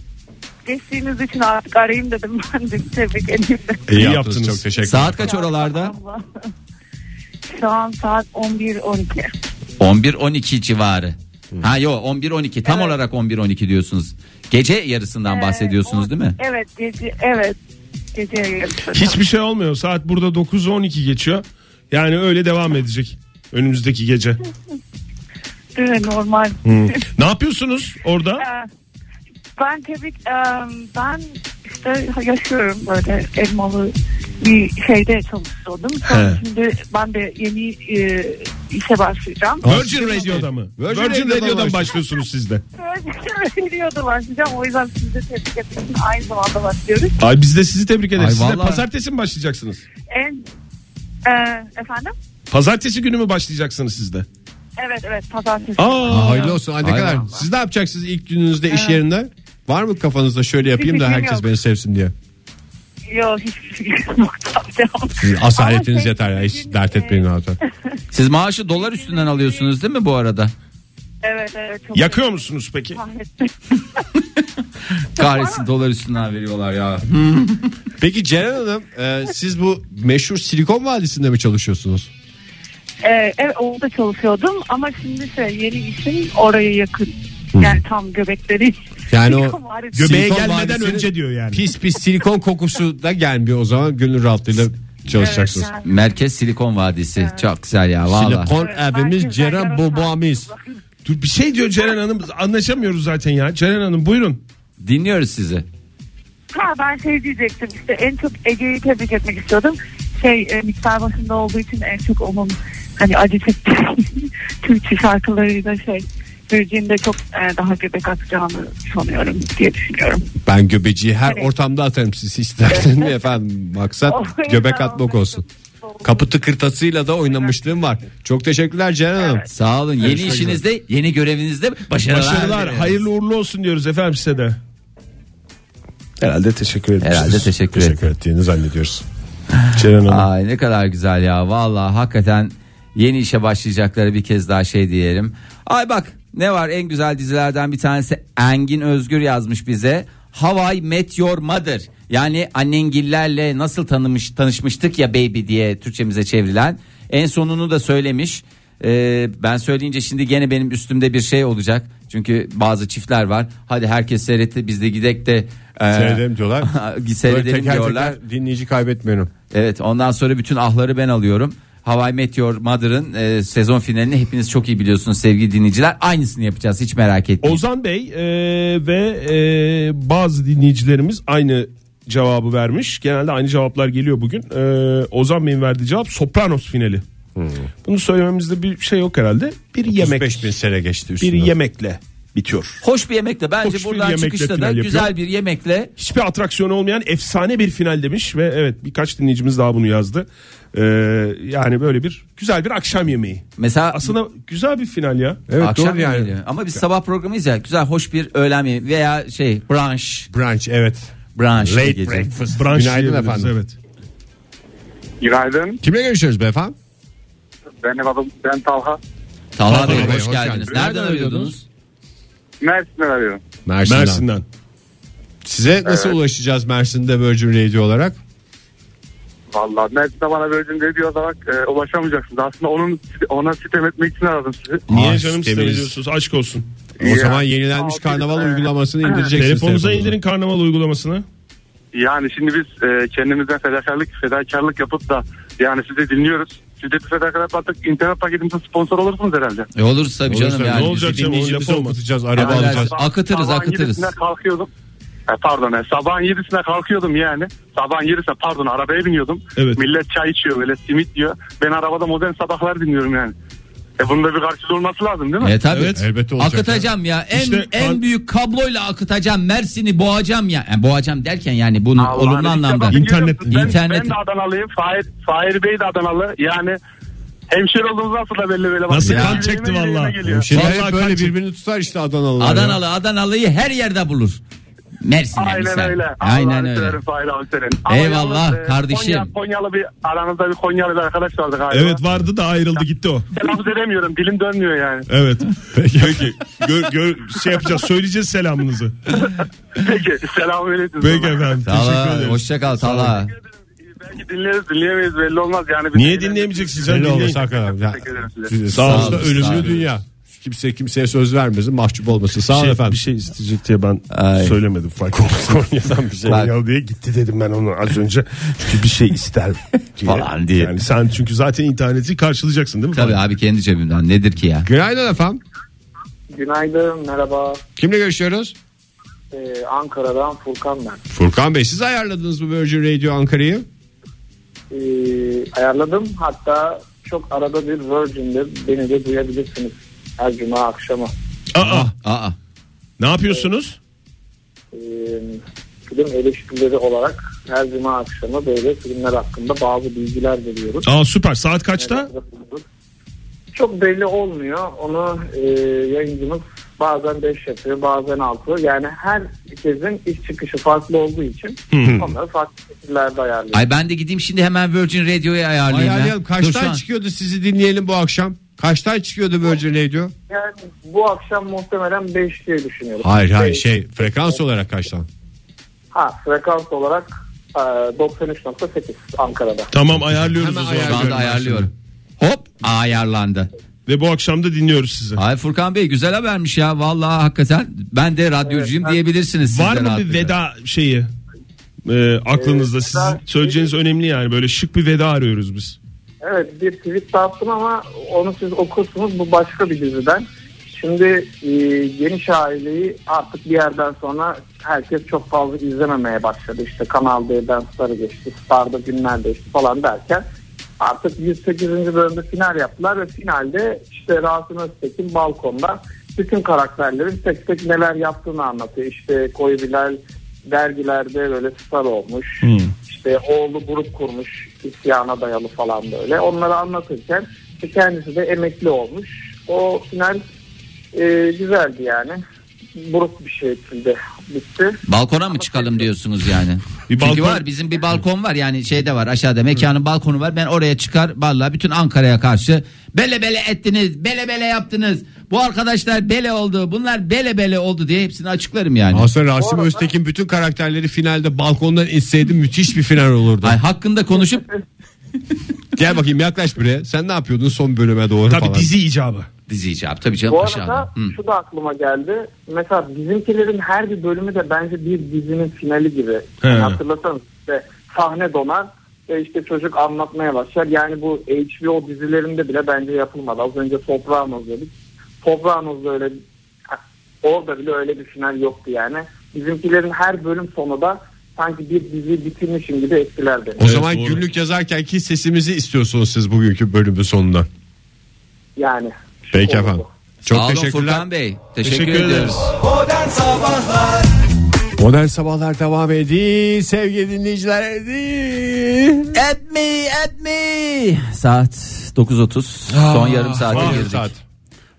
geçtiğiniz için artık arayayım dedim ben de tebrik edeyim de. E, İyi yaptınız, yaptınız. Çok teşekkür Saat kaç oralarda? Şu an saat 11-12. 11-12 civarı. Ha yo 11-12 tam olarak 11-12 diyorsunuz. Gece yarısından bahsediyorsunuz değil mi? Ee, Evet gece evet. Gece yarısı. Hiçbir şey olmuyor. Saat burada 9-12 geçiyor. Yani öyle devam edecek. Önümüzdeki gece. Değil mi? normal. Ne yapıyorsunuz orada? Ee, Ben tebrik em, ben işte yaşıyorum böyle elmalı bir şeyde çalışıyordum. Sonra He. şimdi ben de yeni e, işe başlayacağım. Virgin Radio'da mı? Virgin Virgin, Radio'dan Radio'dan başlıyor. başlıyorsunuz siz de. Biliyordum başlayacağım. O yüzden sizi de tebrik etmek için aynı zamanda başlıyoruz. Ay biz de sizi tebrik ederiz. Ay siz de vallahi. pazartesi mi başlayacaksınız? En, e, efendim? Pazartesi günü mü başlayacaksınız siz de? Evet evet pazartesi. Aa, Aa, hayırlı olsun. Ay ne Aynen. kadar. Siz ne yapacaksınız ilk gününüzde iş yerinde? Var mı kafanızda şöyle yapayım da şey fikrim herkes yok. beni sevsin diye. Yok hiçbir fikrim yok. Tamam. Sizin asaletiniz Ama şey- yeter ya. Hiç dert etmeyin zaten. Siz maaşı dolar üstünden alıyorsunuz değil mi bu arada? Evet evet. Çok Yakıyor musunuz peki? Kahretsin. Kahretsin dolar üstünden veriyorlar ya. Peki Ceren Hanım e, siz bu meşhur Silikon Vadisi'nde mi çalışıyorsunuz? E, Ee, evet orada çalışıyordum ama şimdi şey, yeni işim oraya yakın. Yani tam göbekleri. Yani o Silikon var. göbek- Göbeğe Silikon gelmeden vadisinin- önce diyor yani. Hani Pis pis silikon kokusu da gelmiyor o zaman gönül rahatlığıyla çalışacaksınız. Evet, yani. Merkez Silikon Vadisi. Çok güzel ya valla. Silikon Evet, evimiz herkes Ceren herkes babamız. Dur, bir şey diyor Ceren Hanım anlaşamıyoruz zaten ya. Ceren Hanım buyurun. Dinliyoruz sizi. Ha ben şey diyecektim işte en çok Ege'yi tebrik etmek istiyordum. Şey e, miktar başında olduğu için en çok onun hani acı çekti Türkçe şarkılarıyla şey Virgin'de çok e, daha göbek atacağını sanıyorum diye düşünüyorum. Ben göbeciyi her Evet. Oh, ortamda atarım siz isterseniz efendim. Maksat O yüzden göbek atmak onu olsun. çok- çok- Kapı tıkırtasıyla da oynamışlığım var. Çok teşekkürler Ceren Hanım. Sağ olun. Yeni işinizde, yeni görevinizde başarılar. Başarılar. dileriz. Hayırlı uğurlu olsun diyoruz efendim size de. Herhalde teşekkür ederim. Herhalde teşekkür ederim. Teşekkür ettiğini zannediyoruz. Ceren Hanım. Ay ne kadar güzel ya. Vallahi hakikaten yeni işe başlayacakları bir kez daha şey diyelim. Ay bak ne var en güzel dizilerden bir tanesi Engin Özgür yazmış bize. Hawaii Met Your Mother. Yani annengillerle nasıl tanımış tanışmıştık ya baby diye Türkçemize çevrilen. En sonunu da söylemiş. Ee, ben söyleyince şimdi gene benim üstümde bir şey olacak. Çünkü bazı çiftler var. Hadi herkes seyretti biz de gidek de. e, Seyredelim diyorlar. seyredelim Böyle teker diyorlar. teker dinleyici kaybetmiyorum. Evet ondan sonra bütün ahları ben alıyorum. Hawaii Meteor Mother'ın e, sezon finalini hepiniz çok iyi biliyorsunuz sevgili dinleyiciler. Aynısını yapacağız hiç merak etmeyin. Ozan Bey e, ve e, bazı dinleyicilerimiz aynı cevabı vermiş. Genelde aynı cevaplar geliyor bugün. E, Ozan Bey'in verdiği cevap Sopranos finali. Bunu söylememizde bir şey yok herhalde. Bir yemek, 35 bin sene geçti bir üstünden. yemekle bitiyor. Hoş bir yemekle bence Hoş bir buradan yemekle çıkışta da final güzel yapıyor. bir yemekle Hiçbir atraksiyonu olmayan efsane bir final demiş ve evet birkaç dinleyicimiz daha bunu yazdı. E, yani böyle bir güzel bir akşam yemeği. mesela Aslında güzel bir final ya. Evet akşam doğru yani. yemeği. Ama biz sabah programıyız ya güzel hoş bir öğlen yemeği veya şey brunch. Brunch evet. Brunch Late diye geçer. breakfast. Brunch Günaydın diyebiliriz, efendim. Evet. Günaydın. Kimle görüşüyoruz beyefendi? Benim adım ben Talha. Talha Bey Talha Bey, hoş geldiniz. hoş geldiniz. Nereden Nereden arıyordunuz? Mersin'den arıyorum. Mersin'den. Mersin'den. Size nasıl ulaşacağız Mersin'de Virgin Radio olarak? Valla Mersin'de bana Virgin Radio olarak e, ulaşamayacaksınız. Aslında onun ona sitem etmek için aradım sizi. Niye Ah, canım temiz. istemiyorsunuz? Aşk olsun. O Ya. zaman yenilenmiş karnaval uygulamasını indireceksiniz. Telefonunuza telefonunuza. indirin karnaval uygulamasını. Yani şimdi biz e, kendimize fedakarlık fedakarlık yapıp da yani sizi dinliyoruz. Siz de bir fedakarlık yaptık. internet paketimizin sponsor olursunuz herhalde. E oluruz tabii Olursa canım ne yani. biz olacak bir canım, o dinleyicimiz lafı olmadı. Atacağız, araba Haberler- alacağız. Akıtırız, Sabahın akıtırız. yedisinde kalkıyordum. E, pardon e, sabahın yedisine kalkıyordum yani. Sabahın yedisine pardon arabaya biniyordum. Evet. Millet çay içiyor böyle simit diyor. Ben arabada modern sabahlar dinliyorum yani. E bunun da bir karşılığı olması lazım değil mi? E tabii. Evet. Elbette olacak. Akıtacağım ya. En İşte en an- büyük kabloyla akıtacağım. Mersin'i boğacağım ya. Yani boğacağım derken yani bunu Allah olumlu Allah, anlamda. işte bak, İnternet- görüyorsun, Ben, İnternet- ben de Adanalıyım. Fahir, Fahir Bey de Adanalı. Yani hemşire olduğumuz nasıl da belli böyle. Bak, Nasıl yüreğime, kan çekti yüreğime valla. geliyor. Şimdi Vallahi hep böyle kaç- birbirini tutar işte Adanalılar. ya. Adanalı Adanalı'yı her yerde bulur. Mersin'e Aynen misal. öyle. Aynen Allah'ını öyle. severim Fahir abi senin. Ama Eyvallah yalnız, e, kardeşim. Konya, Konyalı bir aranızda bir Konyalı bir arkadaş vardı galiba. Evet vardı da ayrıldı gitti o. Telaffuz edemiyorum. Dilim dönmüyor yani. Evet. Peki. Gör, gör, şey yapacağız. Söyleyeceğiz selamınızı. Peki. Selamünaleyküm. Peki efendim. Teşekkür Tala ederiz. hoşça kal Tala. Belki dinleriz dinleyemeyiz belli olmaz yani. Biz Niye dinleyemeyeceksiniz? Sen Belli dinleyin. olmaz hakikaten. Ya, Teşekkür ederim size. siz- Sağ olun, sonuçta sağ Ölümlü olun. dünya. Kimse kimseye söz vermesin mahcup olmasın. Sağ olun Şey, efendim. bir şey isteyecek diye ben Ay. söylemedim fark ettim. Konya'dan bir şey. Bak. Konyalı diye gitti dedim ben onu az önce. Çünkü bir şey ister diye. Falan diye. Yani sen çünkü zaten interneti karşılayacaksın değil mi? Tabii abi kendi cebimden nedir ki ya? Günaydın efendim. Günaydın, merhaba. Kimle görüşüyoruz? Ee, Ankara'dan Furkan ben. Furkan Bey siz ayarladınız bu Virgin Radio Ankara'yı. Ee, ayarladım. Hatta çok arada bir Virgin'de beni de duyabilirsiniz. Her cuma akşamı. Aa, Aa ne yapıyorsunuz? Ee, film eleştirileri olarak her cuma akşamı böyle filmler hakkında bazı bilgiler veriyoruz. Aa süper. Saat kaçta? Çok belli olmuyor. Onu e, yayıncımız bazen 5 yapıyor, bazen 6. Yani her herkesin iş çıkışı farklı olduğu için onları farklı şekillerde ayarlıyoruz. ay ben de gideyim şimdi hemen Virgin Radio'yu ayarlayayım. Ayarlayalım. ya. Dur şu Kaçtan an- çıkıyordu sizi dinleyelim bu akşam? Kaçtan çıkıyordu Virgin Radio? Yani bu akşam muhtemelen 5 diye düşünüyorum. Hayır hayır Şey- şey frekans olarak kaçtan? Ha frekans olarak e, 93.8 Ankara'da. Tamam ayarlıyoruz Hemen o zaman. Şu anda ayarlıyorum. Hop ayarlandı. Ve bu akşam da dinliyoruz sizi. Ay Furkan Bey güzel habermiş ya. Vallahi hakikaten ben de radyocuyum diyebilirsiniz. siz Var de mı bir rahatlıkla. veda şeyi? Ee, aklınızda Ee, sizin veda- söyleyeceğiniz önemli yani böyle şık bir veda arıyoruz biz. Evet bir tweet de attım ama onu siz okursunuz bu başka bir diziden. Şimdi e, geniş aileyi artık bir yerden sonra herkes çok fazla izlememeye başladı. İşte Kanal D'den Star'a geçti, Star'da günler değişti falan derken artık 108. bölümde final yaptılar ve finalde işte Rasim Öztekin balkonda bütün karakterlerin tek tek neler yaptığını anlatıyor. İşte Koyu Bilal dergilerde böyle star olmuş. İşte oğlu grup kurmuş isyana dayalı falan böyle. Onları anlatırken işte kendisi de emekli olmuş. O final e, güzeldi yani. Buruk bir şekilde bitti. Balkona mı çıkalım diyorsunuz yani? Bir Çünkü balkon- var bizim bir balkon var yani şeyde var aşağıda mekanın balkonu var. Ben oraya çıkar vallahi bütün Ankara'ya karşı bele bele ettiniz, bele bele yaptınız. Bu arkadaşlar bele oldu, bunlar bele bele oldu diye hepsini açıklarım yani. Aslında Rasim Bu arada- Öztekin bütün karakterleri finalde balkondan inseydi müthiş bir final olurdu. Ay, hakkında konuşup Gel bakayım yaklaş buraya. Sen ne yapıyordun son bölüme doğru Tabii falan. dizi icabı. dizi icabı tabii canım Bu aşağıda. arada Hı. şu da aklıma geldi. Mesela bizimkilerin her bir bölümü de bence bir dizinin finali gibi. Yani hatırlasanız işte sahne donar ve işte çocuk anlatmaya başlar. Yani bu HBO dizilerinde bile bence yapılmadı. Az önce Sopranos dedik. Sopranos'da öyle orada bile öyle bir final yoktu yani. Bizimkilerin her bölüm sonu da sanki bir dizi bitirmişim gibi etkiler beni. O zaman doğru. günlük yazarken ki sesimizi istiyorsunuz siz bugünkü bölümün sonunda. Yani. Peki Oldu. efendim. Sağ Çok olun teşekkürler. Furkan Bey. Teşekkür, Teşekkür ederiz. ediyoruz. Modern Sabahlar devam ediyor. Sevgili dinleyiciler ediyor. At me, at me. Saat 9.30. Son yarım saate Yarım girdik. saat.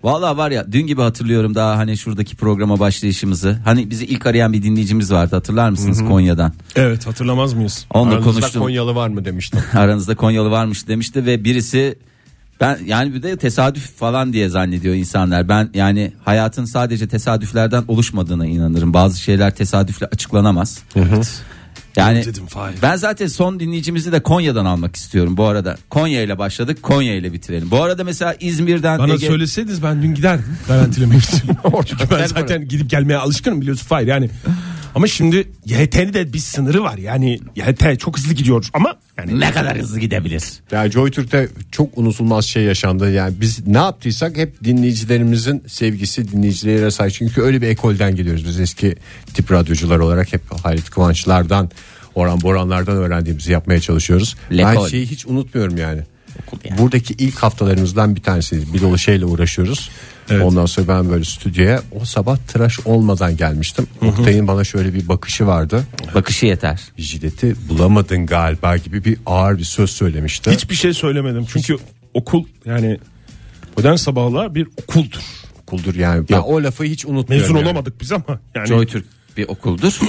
Valla var ya dün gibi hatırlıyorum daha hani şuradaki programa başlayışımızı. Hani bizi ilk arayan bir dinleyicimiz vardı hatırlar mısınız Konya'dan? Evet hatırlamaz mıyız? Onunla Aranızda konuştum. Konyalı var mı demiştim. Aranızda Konyalı varmış demişti ve birisi ben yani bir de tesadüf falan diye zannediyor insanlar. Ben yani hayatın sadece tesadüflerden oluşmadığına inanırım. Bazı şeyler tesadüfle açıklanamaz. Yani Dedim, Fahir. ben zaten son dinleyicimizi de Konya'dan almak istiyorum bu arada. Konya ile başladık, Konya ile bitirelim. Bu arada mesela İzmir'den Bana Ege- söyleseydiniz ben dün giderdim garantilemek için. Çünkü ben zaten gidip gelmeye alışkınım biliyorsun Fahir yani. Ama şimdi YHT'nin de bir sınırı var yani YHT çok hızlı gidiyor ama yani ne kadar hızlı gidebilir? Ya Joy Türk'te çok unutulmaz şey yaşandı. Yani biz ne yaptıysak hep dinleyicilerimizin sevgisi dinleyicilere sahip. Çünkü öyle bir ekolden geliyoruz biz eski tip radyocular olarak hep Halit Kıvançlardan, Orhan Boranlardan öğrendiğimizi yapmaya çalışıyoruz. Ben Lekol. şeyi hiç unutmuyorum yani. Buradaki ilk haftalarımızdan bir tanesi bir dolu şeyle uğraşıyoruz. Ondan sonra ben böyle stüdyoya o sabah tıraş olmadan gelmiştim. Oktay'ın bana şöyle bir bakışı vardı. Bakışı yeter. Jileti bulamadın galiba gibi bir ağır bir söz söylemişti. hiçbir şey söylemedim. Çünkü okul yani modern sabahlar bir okuldur. kuldur yani. Ben o lafı hiç unutmuyorum. Mezun yani. olamadık biz ama yani. Joy Türk bir okuldur.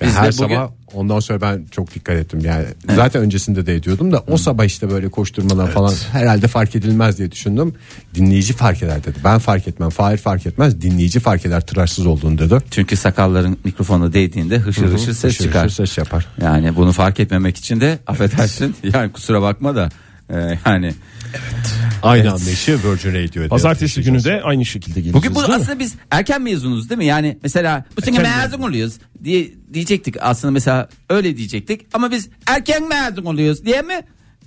Yani Biz de her bugün- sabah ondan sonra ben çok dikkat ettim yani. Zaten öncesinde de ediyordum da o sabah işte böyle koşturmalar falan herhalde fark edilmez diye düşündüm. Dinleyici fark eder dedi. Ben fark etmem. Fahir fark etmez. Dinleyici fark eder tıraşsız olduğunu dedi. Çünkü sakalların mikrofona değdiğinde hışır hışır ses Hışır çıkar. hışır ses yapar. Yani bunu fark etmemek için de affedersin. Yani kusura bakma da e, yani Aynı anlayışı Virgin Radio'da. Pazartesi günü de aynı şekilde geleceğiz. bugün bu değil mi? aslında biz erken mezunuz değil mi? Yani mesela bu sene mezun oluyoruz diye diyecektik aslında mesela öyle diyecektik ama biz erken mezun oluyoruz diye mi?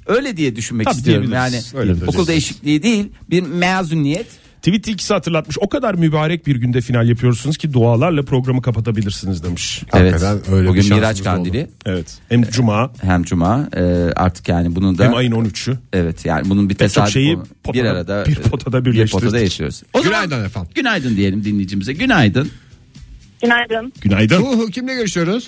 Öyle diye düşünmek Tabii istiyorum. Yani diyebiliriz. Öyle okul diyebiliriz. değişikliği değil, bir mezuniyet. Tweet ikisi hatırlatmış. O kadar mübarek bir günde final yapıyorsunuz ki dualarla programı kapatabilirsiniz demiş. Hakikaten evet. öyle bir Bugün şansımız Miraç oldu. Kandili Evet. Hem cuma hem cuma e, artık yani bunun da hem ayın 13'ü. Evet yani bunun bir Pek çok tesadüf şeyi olma- potada- bir arada bir potada e, birleştirdik. potada yaşıyoruz. O Günaydın zaman- efendim. Günaydın diyelim dinleyicimize. Günaydın. Günaydın. Günaydın. Uhu, kimle görüşüyoruz?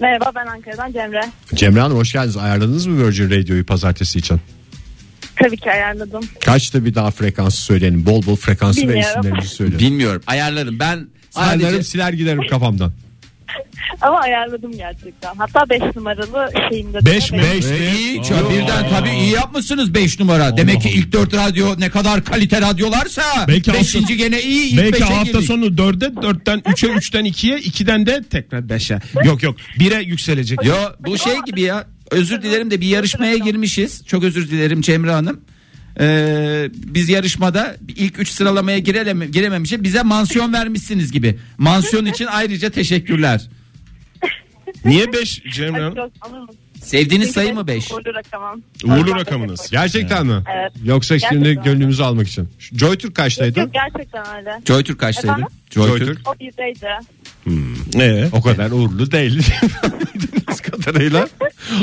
Merhaba ben Ankara'dan Cemre. Cemre Hanım hoş geldiniz. Ayarladınız mı Virgin Radio'yu pazartesi için? Tabii ki ayarladım. Kaçta bir daha frekansı söyleyin. Bol bol frekansı Bilmiyorum. ve isimlerinizi söyleyin. Bilmiyorum. Ayarlarım ben sadece Ayarlarım siler giderim kafamdan. Ama ayarladım gerçekten. Hatta 5 numaralı şeyimde. de- Beş mi? Beş- Beş mi? İyi, çok- birden tabii iyi yapmışsınız 5 numara. Demek ki ilk 4 radyo ne kadar kalite radyolarsa Belki 5. hafta- gene iyi ilk Belki beşe hafta girdik. sonu 4'e, 4'ten 3'e, 3'ten 2'ye, 2'den de tekrar 5'e. Yok yok 1'e yükselecek. Yo bu şey gibi ya. Özür dilerim de bir yarışmaya girmişiz. Çok özür dilerim Cemre Hanım. Ee, biz yarışmada ilk 3 sıralamaya gireleme, girememişe bize mansiyon vermişsiniz gibi. Mansiyon için ayrıca teşekkürler. Niye 5 Cemre Ay, Hanım? çok alırım. Sevdiğiniz Çünkü sayı ben mı 5? Uğurlu rakamım. Uğurlu rakamınız. Gerçekten mi? Evet. Yoksa şimdi Gerçekten. gönlümüzü almak için. Şu JoyTürk Yok, kaçtaydı? yok, gerçekten öyle. Joytürk kaçtaydı? Efendim? JoyTürk. O bizdeydi. Ee? O kadar uğurlu değil. Anladığınız kadarıyla.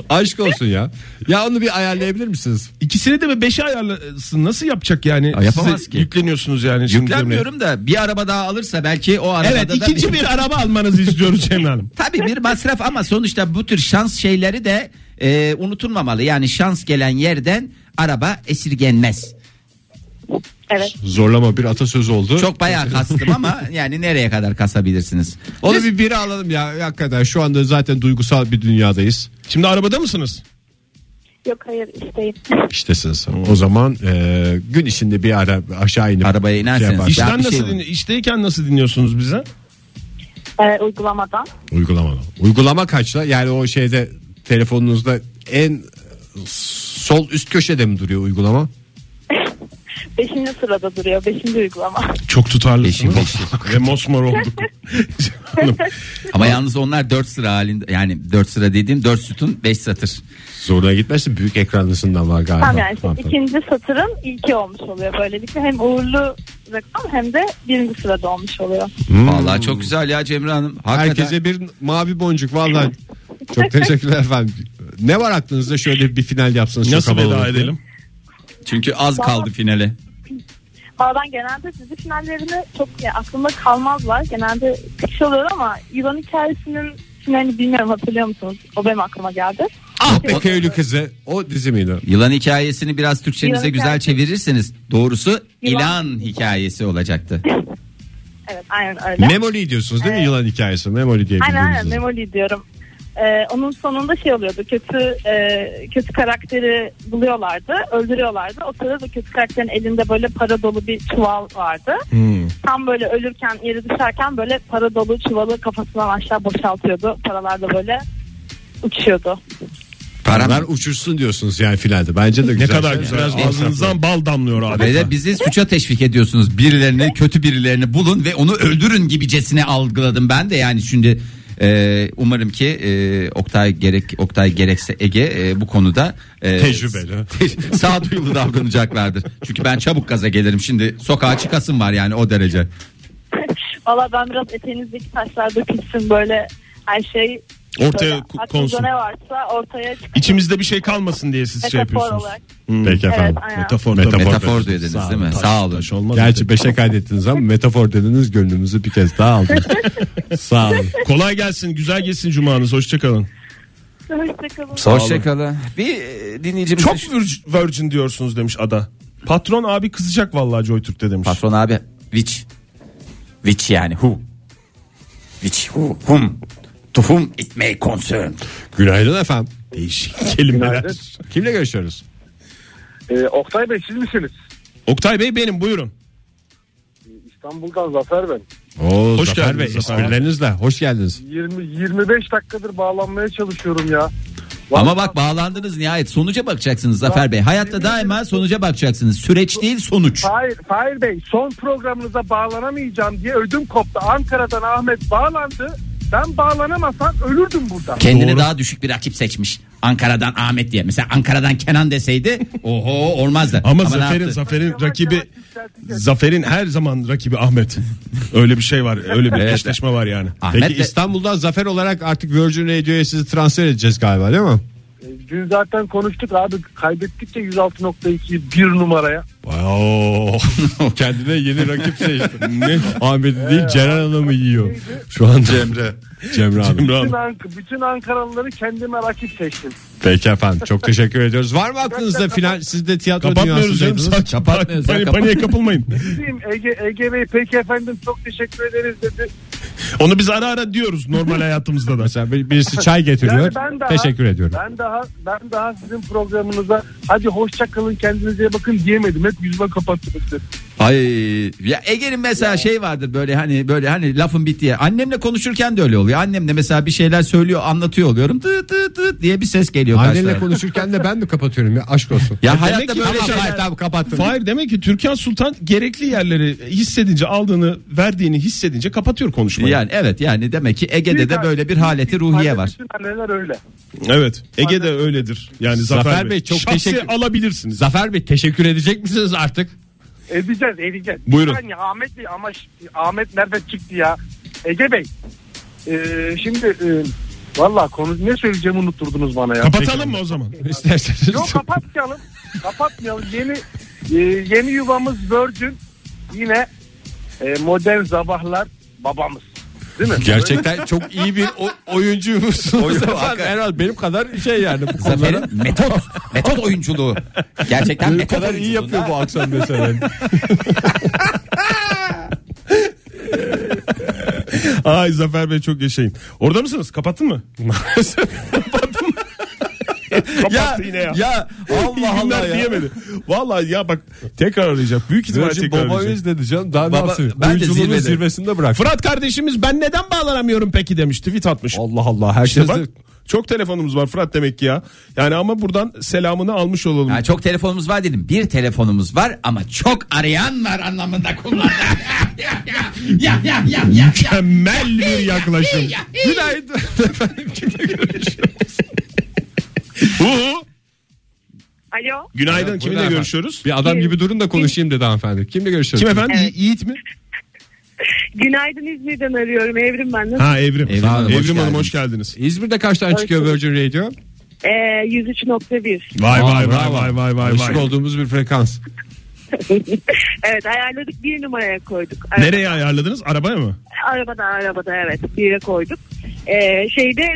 Aşk olsun ya. Ya onu bir ayarlayabilir misiniz? İkisini de mi 5'e ayarlasın? Nasıl yapacak yani? Ya yapamaz Size ki. Yükleniyorsunuz yani. şimdi Cemre. Yüklenmiyorum da bir araba daha alırsa belki o arabada Evet da ikinci bir araba almanızı istiyoruz Cemre Hanım. Tabii bir masraf ama sonuçta bu tür şans şeyleri de e, unutulmamalı. Yani şans gelen yerden araba esirgenmez. Evet. Zorlama bir atasözü oldu. Çok bayağı kastım ama yani nereye kadar kasabilirsiniz? Onu bir biri alalım ya. Hakikaten şu anda zaten duygusal bir dünyadayız. Şimdi arabada mısınız? Yok hayır isteyim. İştesiniz. O zaman e, gün içinde bir ara aşağı inip Arabaya inerseniz. yapar. Ya İşten bir nasıl şey dinli- işteyken nasıl dinliyorsunuz bize? Ee, uygulamadan. Uygulamadan. Uygulama kaçta? Yani o E, şeyde telefonunuzda en sol üst köşede mi duruyor uygulama? Beşinci sırada duruyor. Beşinci uygulama. Çok Beşim, tutarlısınız. beşim. Ve mosmor olduk. Cemre Hanım. Ama yalnız onlar 4 sıra halinde yani 4 sıra dediğim 4 sütun 5 satır. Zoruna gitmezsin. Büyük ekranlısından var galiba. Tam yani işte Tamam, tamam. ikinci satırın ilki olmuş oluyor böylelikle. Hem uğurlu rakam hem de birinci sırada olmuş oluyor. Hmm. Vallahi çok güzel ya Cemre Hanım. Hakikaten. Herkese bir mavi boncuk vallahi. Çok teşekkürler efendim. Ne var aklınızda şöyle bir final yapsanız çok Nasıl havalı veda olur. edelim? Çünkü az kaldı finale. Valla ben genelde dizi finallerini çok yani aklımda kalmazlar. Genelde kış oluyor ama yılan hikayesinin finalini bilmiyorum hatırlıyor musunuz? O benim aklıma geldi. Ah be köylü kızı. O dizi miydi? Yılan hikayesini biraz Türkçenize Yılan güzel hikayesi. çevirirseniz doğrusu Yılan. ilan hikayesi olacaktı. Evet aynen öyle. Memoli diyorsunuz değil mi yılan hikayesi? Memoli diye Aynen bildiğimiz aynen dizi. Memoli diyorum. Ee, onun sonunda şey oluyordu kötü e, kötü karakteri buluyorlardı öldürüyorlardı o sırada kötü karakterin elinde böyle para dolu bir çuval vardı Hmm. tam böyle ölürken yere düşerken böyle para dolu çuvalı kafasından aşağı boşaltıyordu paralar da böyle uçuyordu Paralar uçursun diyorsunuz yani finalde. Bence de Ne güzel. kadar şey. güzel. Biraz masraflı. Ağzınızdan bal damlıyor Ve abi. de bizi suça teşvik ediyorsunuz. Birilerini, kötü birilerini bulun ve onu öldürün gibicesine algıladım ben de yani şimdi e, umarım ki e, Oktay gerek Oktay gerekse Ege e, bu konuda e, Tecrübeli. te- sağduyulu davranacaklardır. Çünkü ben çabuk gaza gelirim. Şimdi sokağa çıkasım var yani o derece. valla ben biraz eteğinizdeki taşlar dökülsün böyle her şey Ortaya böyle ku- aklınızda konsun. ne varsa ortaya çıksın İçimizde bir şey kalmasın diye siz şey metafor yapıyorsunuz. olarak Peki evet efendim. aynen Metafor. Metafor. Metafor diyor dediniz değil mi? Sağ olun. Taş olmaz. Gerçi 5'e kaydettiniz ama metafor dediniz gönlümüzü bir kez daha aldınız. Sağ olun. Kolay gelsin, güzel gelsin cumanız. Hoşçakalın. Hoşçakalın. Hoşçakalın. Bir e, dinleyicimiz Çok virg- virgin diyorsunuz demiş ada. Patron abi kızacak vallahi JoyTürk'te demiş. Patron abi which which yani who which who whom to whom it may concern. Günaydın efendim. Değişik kelimeler. Günaydın. Kimle görüşüyoruz? Ee, Oktay Bey siz misiniz? Oktay Bey benim buyurun. İstanbul'dan Zafer ben. Oo, Hoş Zafer geldiniz Bey, Zafer. Esprilerinizle hoş geldiniz. 20 25 dakikadır bağlanmaya çalışıyorum ya. Ama bak bağlandınız nihayet sonuca bakacaksınız Zafer Bey. Hayatta daima sonuca bakacaksınız. Süreç değil sonuç. Hayır, Fahir Bey son programınıza bağlanamayacağım diye ödüm koptu. Ankara'dan Ahmet bağlandı. Ben bağlanamasam ölürdüm burada. Kendine daha düşük bir rakip seçmiş. Ankara'dan Ahmet diye. Mesela Ankara'dan Kenan deseydi oho olmazdı. Ama, ne Zafer'in yaptı? Zafer'in Yavaş rakibi yavaş yükselteceğiz. Zafer'in her zaman rakibi Ahmet. Öyle bir şey var. Öyle bir eşleşme var yani. Ahmet Peki de- İstanbul'dan Zafer olarak artık Virgin Radio'ya sizi transfer edeceğiz galiba değil mi? Ee, Dün zaten konuştuk abi kaybettik de 106.2'yi bir numaraya. Kendine yeni rakip seçti. ne? Ahmet'i değil Ceren Hanım'ı yiyor. Şu an Cemre. Cemre Hanım. Emre Hanım. Bütün, Ank- bütün Ankaralıları kendime rakip seçtim. Peki efendim çok teşekkür ediyoruz. Var mı aklınızda final siz de tiyatro Kapatmıyoruz canım. dünyasındaydınız. Sakin. Kapatmıyoruz ya, Pani- kapat- Paniğe kapılmayın. Diyeyim, Ege, Ege Bey peki efendim çok teşekkür ederiz dedi. Onu biz ara ara diyoruz normal hayatımızda da. Mesela bir- birisi çay getiriyor. Yani ben daha- Teşekkür ediyorum. Ben daha ben daha sizin programınıza hadi hoşça kalın kendinize iyi bakın diyemedim. Hep yüzüme kapattınız. siz. Ay ya Ege'nin mesela şey vardır böyle hani böyle hani lafın bittiği. Annemle konuşurken de öyle oluyor. Annem de mesela bir şeyler söylüyor, anlatıyor oluyorum. Tı tı tı diye bir ses geliyor Annenle karşılarına. konuşurken de ben mi kapatıyorum ya aşk olsun. Ya demek hayatta ki böyle tamam, şeyler. hayır, tamam kapattım. Fahir demek ki Türkan Sultan gerekli yerleri hissedince aldığını verdiğini hissedince kapatıyor konuşmayı. Yani evet yani demek ki Ege'de de Büyük böyle bir haleti ruhiye var. Bütün anneler öyle. Evet Ege'de öyledir. Yani Zafer, Zafer Bey, Bey, çok şahsi teşekkür- alabilirsiniz. Zafer Bey teşekkür edecek misiniz artık? Edeceğiz edeceğiz. Buyurun. Yani Ahmet Bey ama ş- Ahmet nerede çıktı ya? Ege Bey. Ee, şimdi e, valla konu ne söyleyeceğimi unutturdunuz bana ya. Kapatalım mı o zaman? İsterseniz. Yok kapatmayalım. kapatmayalım. Yeni e, yeni yuvamız Virgin yine e, modern sabahlar babamız. Değil mi? Gerçekten çok iyi bir o- oyuncuymuşsunuz. efendim. Herhalde benim kadar şey yani bu konulara. Zafer'in metot metot oyunculuğu. Gerçekten Benim metot kadar iyi oyunculuğunda- yapıyor bu akşam mesela. Ay Zafer Bey çok yaşayın. Orada mısınız? Kapattın mı? Kapattı Ya, yine ya. ya Allah Allah Allah ya. diyemedi. Vallahi ya bak tekrar arayacak. Büyük ihtimal Virgin tekrar Baba arayacak. dedi canım. Daha Baba- ne yapsın? ben de Oyunculuğunu zirvede. zirvesinde bırak. Fırat kardeşimiz ben neden bağlanamıyorum peki demiş. Tweet atmış. Allah Allah herkes İşte bak de- çok telefonumuz var Fırat demek ki ya. Yani ama buradan selamını almış olalım. Ya çok telefonumuz var dedim. Bir telefonumuz var ama çok arayan var anlamında kullandım. ya ya ya ya ya. ya. Mükemmel bir yaklaşım. Günaydın efendim. Kimle görüşüyorum? Uhu. Alo. Günaydın. Buyurun Kiminle efendim. görüşüyoruz? Bir adam gibi durun da konuşayım dedi hanımefendi. Kimle görüşüyoruz? Kim efendim? Yi- Yiğit mi? Günaydın İzmir'den arıyorum. Evrim ben. Nasıl? Ha Evrim. Evrim Hanım, hoş Evrim Hanım geldiniz. hoş geldiniz. İzmir'de kaçtan çıkıyor Virgin Radio? Ee, 103.1. Vay Aa, vay vay bravo. vay vay vay Alışık vay. olduğumuz bir frekans. evet ayarladık bir numaraya koyduk. Araba- Nereye ayarladınız? Arabaya mı? Arabada arabada evet bir yere koyduk. Ee, şeyde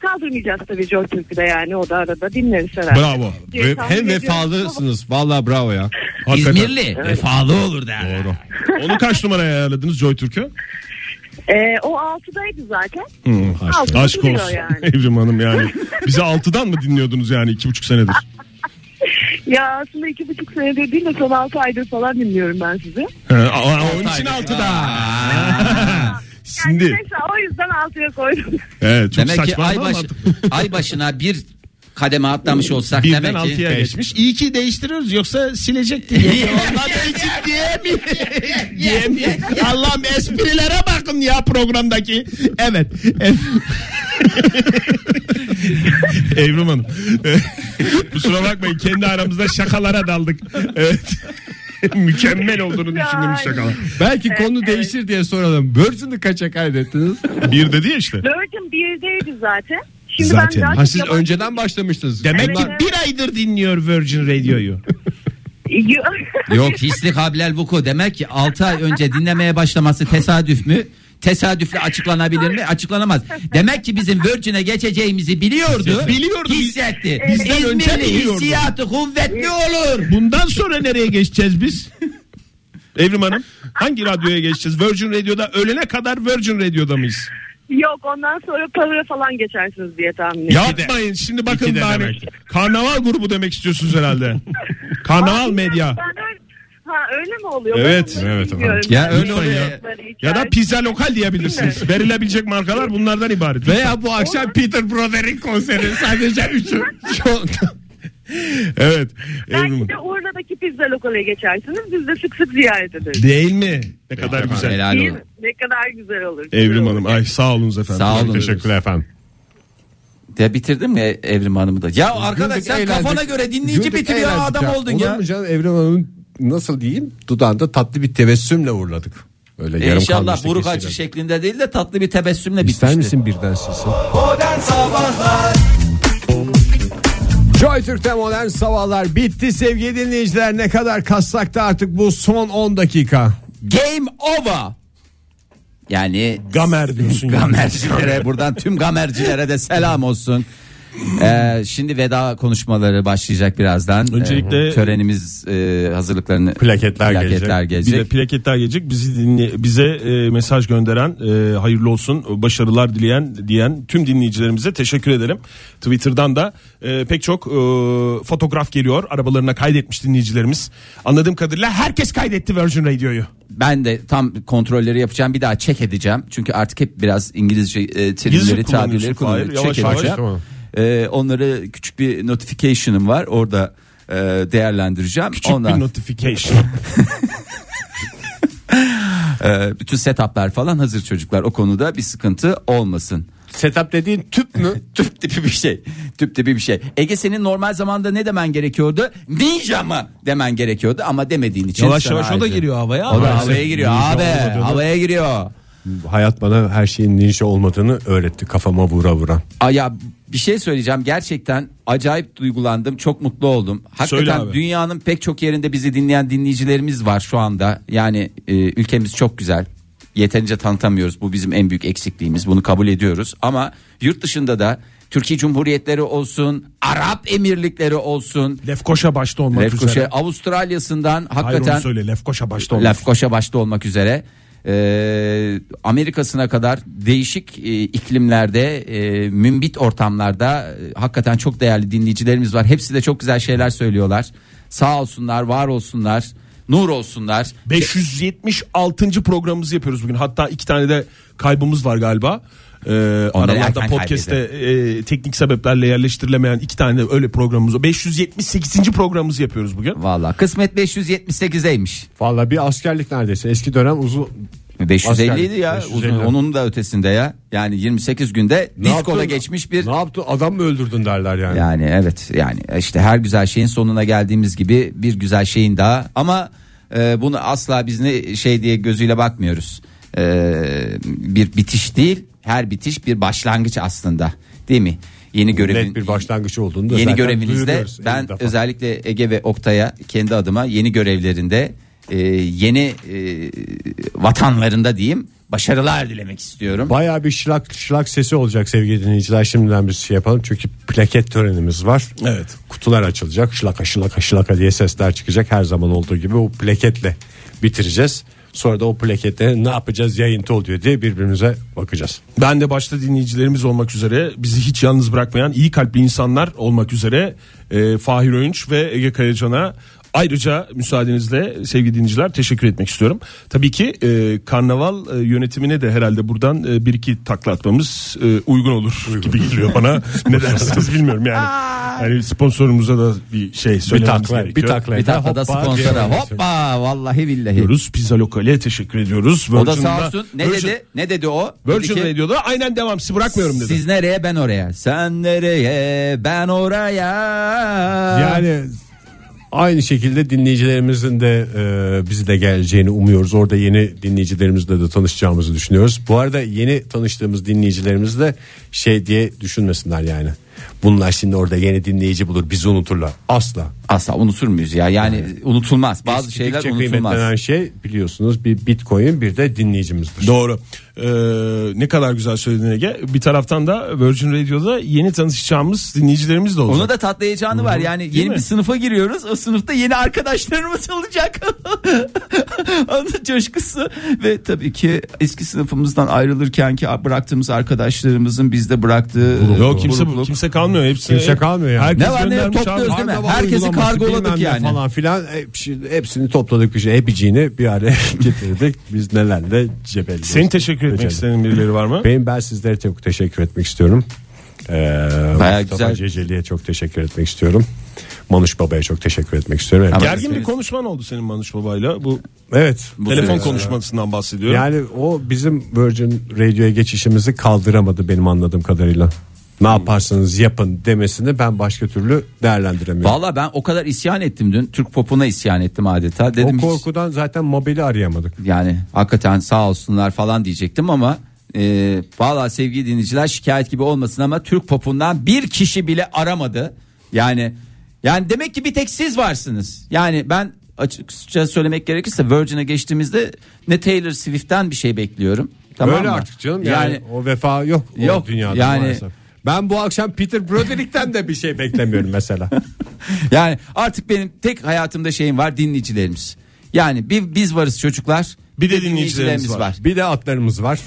kaldırmayacağız tabii Joy Türk'ü de yani o da arada dinleriz herhalde. Bravo. Diye Ve- tahmin Hem ediyorum. vefalısınız. Vallahi bravo ya. Hakikaten. İzmirli vefalı olur der. Doğru. Onu kaç numaraya ayarladınız Joy Türk'ü? Ee, o 6'daydı zaten. Hmm, Altı Aşk duruyor olsun. yani. Evrim Hanım yani. Bizi altıdan mı dinliyordunuz yani iki buçuk senedir? Ya aslında iki buçuk senedir değil de son 6 aydır falan dinliyorum ben sizi. He, aa, Onun için altıda. Yani Şimdi mesela o yüzden 6'ya koydum. evet, çok Demek ki saçma ay, ama baş, mantıklı. ay başına bir kademe atlamış olsak Birden demek ki. altıya geçmiş. İyi ki değiştiriyoruz yoksa silecekti. Allah'ım esprilere bakın ya programdaki. Evet. Evrim Hanım. Kusura bakmayın kendi aramızda şakalara daldık. Evet. Mükemmel olduğunu düşündüğüm şakalar. Belki konu değişir diye soralım. Virgin'i kaça kaydettiniz? Bir dedi ya işte. Virgin 1'deydi zaten. Şimdi ben daha Ha, çok siz yabancı- önceden başlamıştınız. Demek ki Bunlar- bir aydır dinliyor Virgin Radio'yu. Yok hisli kabilel vuku demek ki 6 ay önce dinlemeye başlaması tesadüf mü? Tesadüfle açıklanabilir mi? Açıklanamaz. Demek ki bizim Virgin'e geçeceğimizi biliyordu. Biliyordu. Hissetti. Bizden İzmirli önce biliyordu. hissiyatı kuvvetli olur. Bundan sonra nereye geçeceğiz biz? Evrim Hanım hangi radyoya geçeceğiz? Virgin Radio'da ölene kadar Virgin Radio'da mıyız? Yok ondan sonra Power'a falan geçersiniz diye tahmin ediyorum. Yapmayın şimdi bakın İki de yani karnaval grubu demek istiyorsunuz herhalde. karnaval medya. Ben öyle- Ha öyle mi oluyor? Evet, Ben onları evet bilmiyorum. efendim. Ya Yani öyle onları oluyor. içer- Ya da pizza lokal diyebilirsiniz. Verilebilecek markalar bunlardan ibaret. Veya bu akşam Peter Brotherin konseri sadece üçü. Çok- Evet. Evrim Belki Hanım. de Urla'daki pizza lokale geçersiniz. Biz de sık sık ziyaret ederiz. Değil mi? Ne kadar güzel. Helal Değil olur. mi? Ne kadar güzel olur. Evrim Hanım ay sağ olunuz efendim. Sağ olun. Teşekkürler efendim. Ya bitirdin mi Evrim Hanım'ı da? Ya arkadaş Güldük, sen eğlendik. kafana göre dinleyici Güldük, bitiriyor eğlendik adam oldun Olur ya. mu canım Evren Hanım'ın nasıl diyeyim dudağında tatlı bir tebessümle uğurladık. Öyle E, yarım İnşallah kalmıştı buruk keşke. acı şeklinde değil de tatlı bir tebessümle bitmişti. İster misin birden sizin? Joy Türk'te modern sabahlar bitti sevgili dinleyiciler. Ne kadar kassak da artık bu son 10 dakika. Game over. Yani Gamer diyorsun. yani. gamercilere buradan tüm gamercilere de selam olsun. Ee, şimdi veda konuşmaları başlayacak birazdan. Öncelikle- Ee, törenimiz e, hazırlıklarını Plaketler plaketler Bir de gelecek. plaketler gelecek. Bizi dinle, bize e, mesaj gönderen, e, hayırlı olsun, başarılar dileyen diyen tüm dinleyicilerimize teşekkür edelim. Twitter'dan da e, pek çok e, fotoğraf geliyor. Arabalarına kaydetmiş dinleyicilerimiz. Anladığım kadarıyla herkes kaydetti Virgin Radio'yu. Ben de tam kontrolleri yapacağım. Bir daha çek edeceğim. Çünkü artık hep biraz İngilizce e, terimleri, kullanıyorsun tabirleri Fahir. kullanıyorum. Yavaş Çek yavaş, edeceğim. tamam. Ee, onları küçük bir notification'ım var. Orada e, değerlendireceğim. Küçük Ondan bir notification. e, bütün setuplar falan hazır çocuklar. O konuda bir sıkıntı olmasın. Setup dediğin tüp mü? Tüp tipi bir şey. Tüp tipi bir şey. Ege senin normal zamanda ne demen gerekiyordu? Ninja mı demen gerekiyordu ama demediğin için. Yavaş sana yavaş o da ayrıca- giriyor havaya. O da Maalesef havaya giriyor ninja abi. olmadığını- Havaya giriyor. Hayat bana her şeyin ninja olmadığını öğretti kafama vura vura. Aa, ya bir şey söyleyeceğim. Gerçekten acayip duygulandım. Çok mutlu oldum. Söyle Hakikaten abi. dünyanın pek çok yerinde bizi dinleyen dinleyicilerimiz var şu anda. Yani e, ülkemiz çok güzel. Yeterince tanıtamıyoruz. Bu bizim en büyük eksikliğimiz. Bunu kabul ediyoruz. Ama yurt dışında da Türkiye Cumhuriyetleri olsun, Arap Emirlikleri olsun, Lefkoşa başta olmak Lefkoşa üzere. Avustralya'sından Hayır onu hakikaten söyle Lefkoşa başta olmak Lefkoşa başta olmak üzere e, Amerika'sına kadar değişik e, iklimlerde e, mümbit ortamlarda e, hakikaten çok değerli dinleyicilerimiz var. Hepsi de çok güzel şeyler söylüyorlar. Sağ olsunlar, var olsunlar, nur olsunlar. 576. programımızı yapıyoruz bugün. Hatta iki tane de kaybımız var galiba. Ee, aralarda erken podcast'te e, teknik sebeplerle yerleştirilemeyen iki tane de öyle programımız var. 578. programımızı yapıyoruz bugün. Valla kısmet 578'eymiş. Valla bir askerlik neredeyse. Eski dönem uzun 550 idi ya. 550. Uzun- onun da ötesinde ya. Yani 28 günde Ne diskola yaptın? geçmiş bir Ne yaptı? Adam mı öldürdün derler yani. Yani evet yani işte her güzel şeyin sonuna geldiğimiz gibi bir güzel şeyin daha ama e, bunu asla biz ne şey diye gözüyle bakmıyoruz. E, bir bitiş değil her bitiş bir başlangıç aslında değil mi? Yeni görevin Net bir başlangıç olduğunu da yeni zaten görevinizde duyuruyoruz ben elli defa. özellikle Ege ve Oktay'a kendi adıma yeni görevlerinde e, yeni e, vatanlarında diyeyim başarılar dilemek istiyorum. Bayağı bir şılak şılak sesi olacak sevgili dinleyiciler. Şimdiden bir şey yapalım. Çünkü plaket törenimiz var. Evet. Kutular açılacak. Şılaka şılaka şılaka diye sesler çıkacak. Her zaman olduğu gibi o plaketle bitireceğiz. Sonra da o plakette ne yapacağız yayıntı oluyor diye birbirimize bakacağız. Ben de başta dinleyicilerimiz olmak üzere bizi hiç yalnız bırakmayan iyi kalpli insanlar olmak üzere e, Fahir Öğünç ve Ege Kayacan'a ayrıca müsaadenizle sevgili dinleyiciler teşekkür etmek istiyorum. Tabii ki e, karnaval e, yönetimine de herhalde buradan e, bir iki takla atmamız e, uygun olur gibi geliyor bana. ne dersiniz bilmiyorum yani. Yani sponsorumuza da bir şey Bir söylememiz takla, bir gerekiyor. takla. bir tarafta da Hoppa sponsora diye- hoppa vallahi billahi. Diyoruz. Pizza Lokal'e teşekkür ediyoruz. O da Virgin'da- sağ olsun. Ne Virgin- dedi? Ne dedi o? Virgin Dedi ki, Radio'da aynen devam sizi bırakmıyorum dedi. Siz nereye ben oraya. Sen nereye ben oraya. Yani aynı şekilde dinleyicilerimizin de e, bizi de geleceğini umuyoruz. Orada yeni dinleyicilerimizle de tanışacağımızı düşünüyoruz. Bu arada yeni tanıştığımız dinleyicilerimiz de şey diye düşünmesinler yani. Bunlar şimdi orada yeni dinleyici bulur bizi unuturlar. Asla. Asla unutur muyuz ya? Yani unutulmaz. Bazı şeyler Gittikçe unutulmaz. kıymetlenen şey biliyorsunuz bir bitcoin bir de dinleyicimizdir. Doğru. Ee, ne kadar güzel söyledin Ege. Bir taraftan da Virgin Radio'da yeni tanışacağımız dinleyicilerimiz de olacak. Onu da tatlı heyecanı var. Yani yeni mi? bir sınıfa giriyoruz. O sınıfta yeni arkadaşlarımız olacak. Onun coşkusu ve tabii ki eski sınıfımızdan ayrılırken ki bıraktığımız arkadaşlarımızın bizde bıraktığı Yok kimse grupluk. kimse kalmıyor hepsi. Kimse kalmıyor yani. Herkes Ne var ne yok, göndermiş abi. topluyoruz değil mi? Karnaval Herkesi uygulaması kargoladık bilmem ne yani. Falan filan E, hepsi- hepsini topladık bir şey. Hepiciğini bir araya getirdik. Biz nelerle cebelliyoruz. Senin teşekkür etmek Becerdik. istediğin birileri var mı? Benim ben sizlere çok teşekkür etmek istiyorum. Ee, Mustafa güzel. Ceceli'ye çok teşekkür etmek istiyorum. Manuş Baba'ya çok teşekkür etmek istiyorum. Yani- Ama- Gergin bir konuşman oldu senin Manuş Baba'yla. Bu evet. telefon sene- konuşmasından bahsediyorum. Yani o bizim Virgin Radio'ya geçişimizi kaldıramadı benim anladığım kadarıyla. Ne yaparsanız yapın demesini ben başka türlü değerlendiremiyorum. Valla ben o kadar isyan ettim dün. Türk popuna isyan ettim adeta. Dedim o hiç- korkudan zaten mobili arayamadık. yani hakikaten sağ olsunlar falan diyecektim ama e, valla sevgili dinleyiciler şikayet gibi olmasın ama Türk popundan bir kişi bile aramadı. Yani yani demek ki bir tek siz varsınız. Yani ben açıkça söylemek gerekirse Virgin'e geçtiğimizde ne Taylor Swift'ten bir şey bekliyorum. Tamam Öyle mı? artık canım yani, o vefa yok, o Yok dünyada yani maalesef. Ben bu akşam Peter Broderick'ten de bir şey beklemiyorum mesela. Yani artık benim tek hayatımda şeyim var dinleyicilerimiz. Yani bir biz varız çocuklar. Bir de dinleyicilerimiz var. bir de atlarımız var.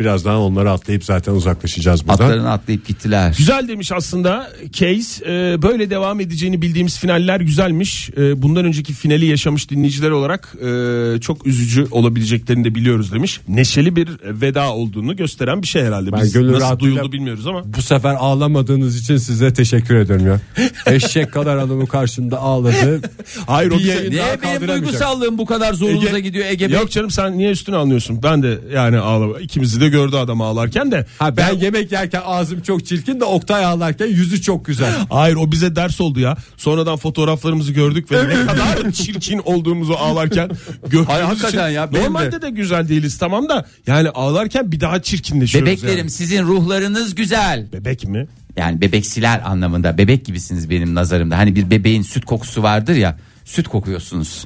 Birazdan onları atlayıp zaten uzaklaşacağız buradan. Atlarını atlayıp gittiler. Güzel demiş aslında Case. Ee, böyle devam edeceğini bildiğimiz finaller güzelmiş. Ee, bundan önceki finali yaşamış dinleyiciler olarak e, çok üzücü olabileceklerini de biliyoruz demiş. Neşeli bir veda olduğunu gösteren bir şey herhalde. Ben Biz gönül nasıl rahatlığıyla- duyuldu bilmiyoruz ama. Bu sefer ağlamadığınız için size teşekkür ediyorum ya. Eşek kadar adamı karşımda ağladı. Hayır Bir o bize- yayın- Niye Ee, Daha benim kaldıramayacak. duygusallığım bu kadar zorunuza Ege- gidiyor Ege Bey? Yok canım sen niye üstüne alıyorsun? Ben de yani ağlama. İkimizi de gördü adam ağlarken de. Ha ben yemek yerken ağzım çok çirkin de Oktay ağlarken yüzü çok güzel. Hayır o bize ders oldu ya. Sonradan fotoğraflarımızı gördük ve ne kadar çirkin olduğumuzu ağlarken gördüğümüz Hayır, hakikaten için ya, benim Normalde de. güzel değiliz tamam da yani ağlarken bir daha çirkinleşiyoruz. Bebeklerim yani. sizin ruhlarınız güzel. Bebek mi? Yani bebeksiler anlamında bebek gibisiniz benim nazarımda. Hani bir bebeğin süt kokusu vardır ya. Süt kokuyorsunuz.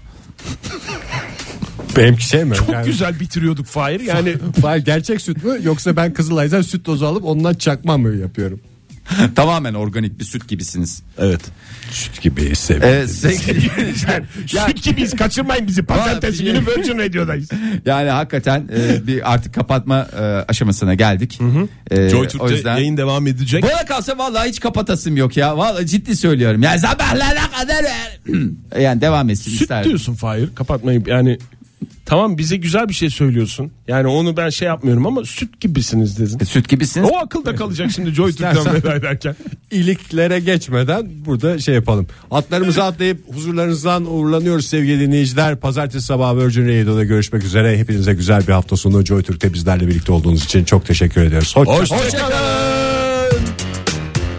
Benimki şey mi? Çok güzel bitiriyorduk Fahir yani. Hayır, gerçek süt mü yoksa ben Kızılay'dan süt tozu alıp ondan çakma mı yapıyorum? Tamamen organik bir süt gibisiniz. Evet. Süt gibi seviyorum. Evet, Ee, sevgili dinleyiciler. Ya- Süt gibiyiz kaçırmayın bizi. Pazartesi Vallahi- günü Virgin Radio'dayız. Yani hakikaten e, bir artık kapatma e, aşamasına geldik. E, Joy o yüzden yayın devam edecek. bana kalsa vallahi hiç kapatasım yok ya. Vallahi ciddi söylüyorum. Yani sabahlara kadar yani devam etsin Süt isterdim. diyorsun Fahir kapatmayıp yani tamam bize güzel bir şey söylüyorsun. Yani onu ben şey yapmıyorum ama süt gibisiniz dedin. E, Süt gibisiniz. O akılda kalacak şimdi Joy Türk'ten veda ederken. İliklere geçmeden burada şey yapalım. Atlarımızı atlayıp huzurlarınızdan uğurlanıyoruz sevgili dinleyiciler. Pazartesi sabahı Virgin Radio'da görüşmek üzere. Hepinize güzel bir hafta sonu. Joy Türk'te bizlerle birlikte olduğunuz için çok teşekkür ediyoruz. Hoşça Hoşçakalın.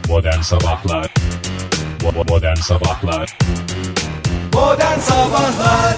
Modern Sabahlar Bo- Modern Sabahlar Modern Sabahlar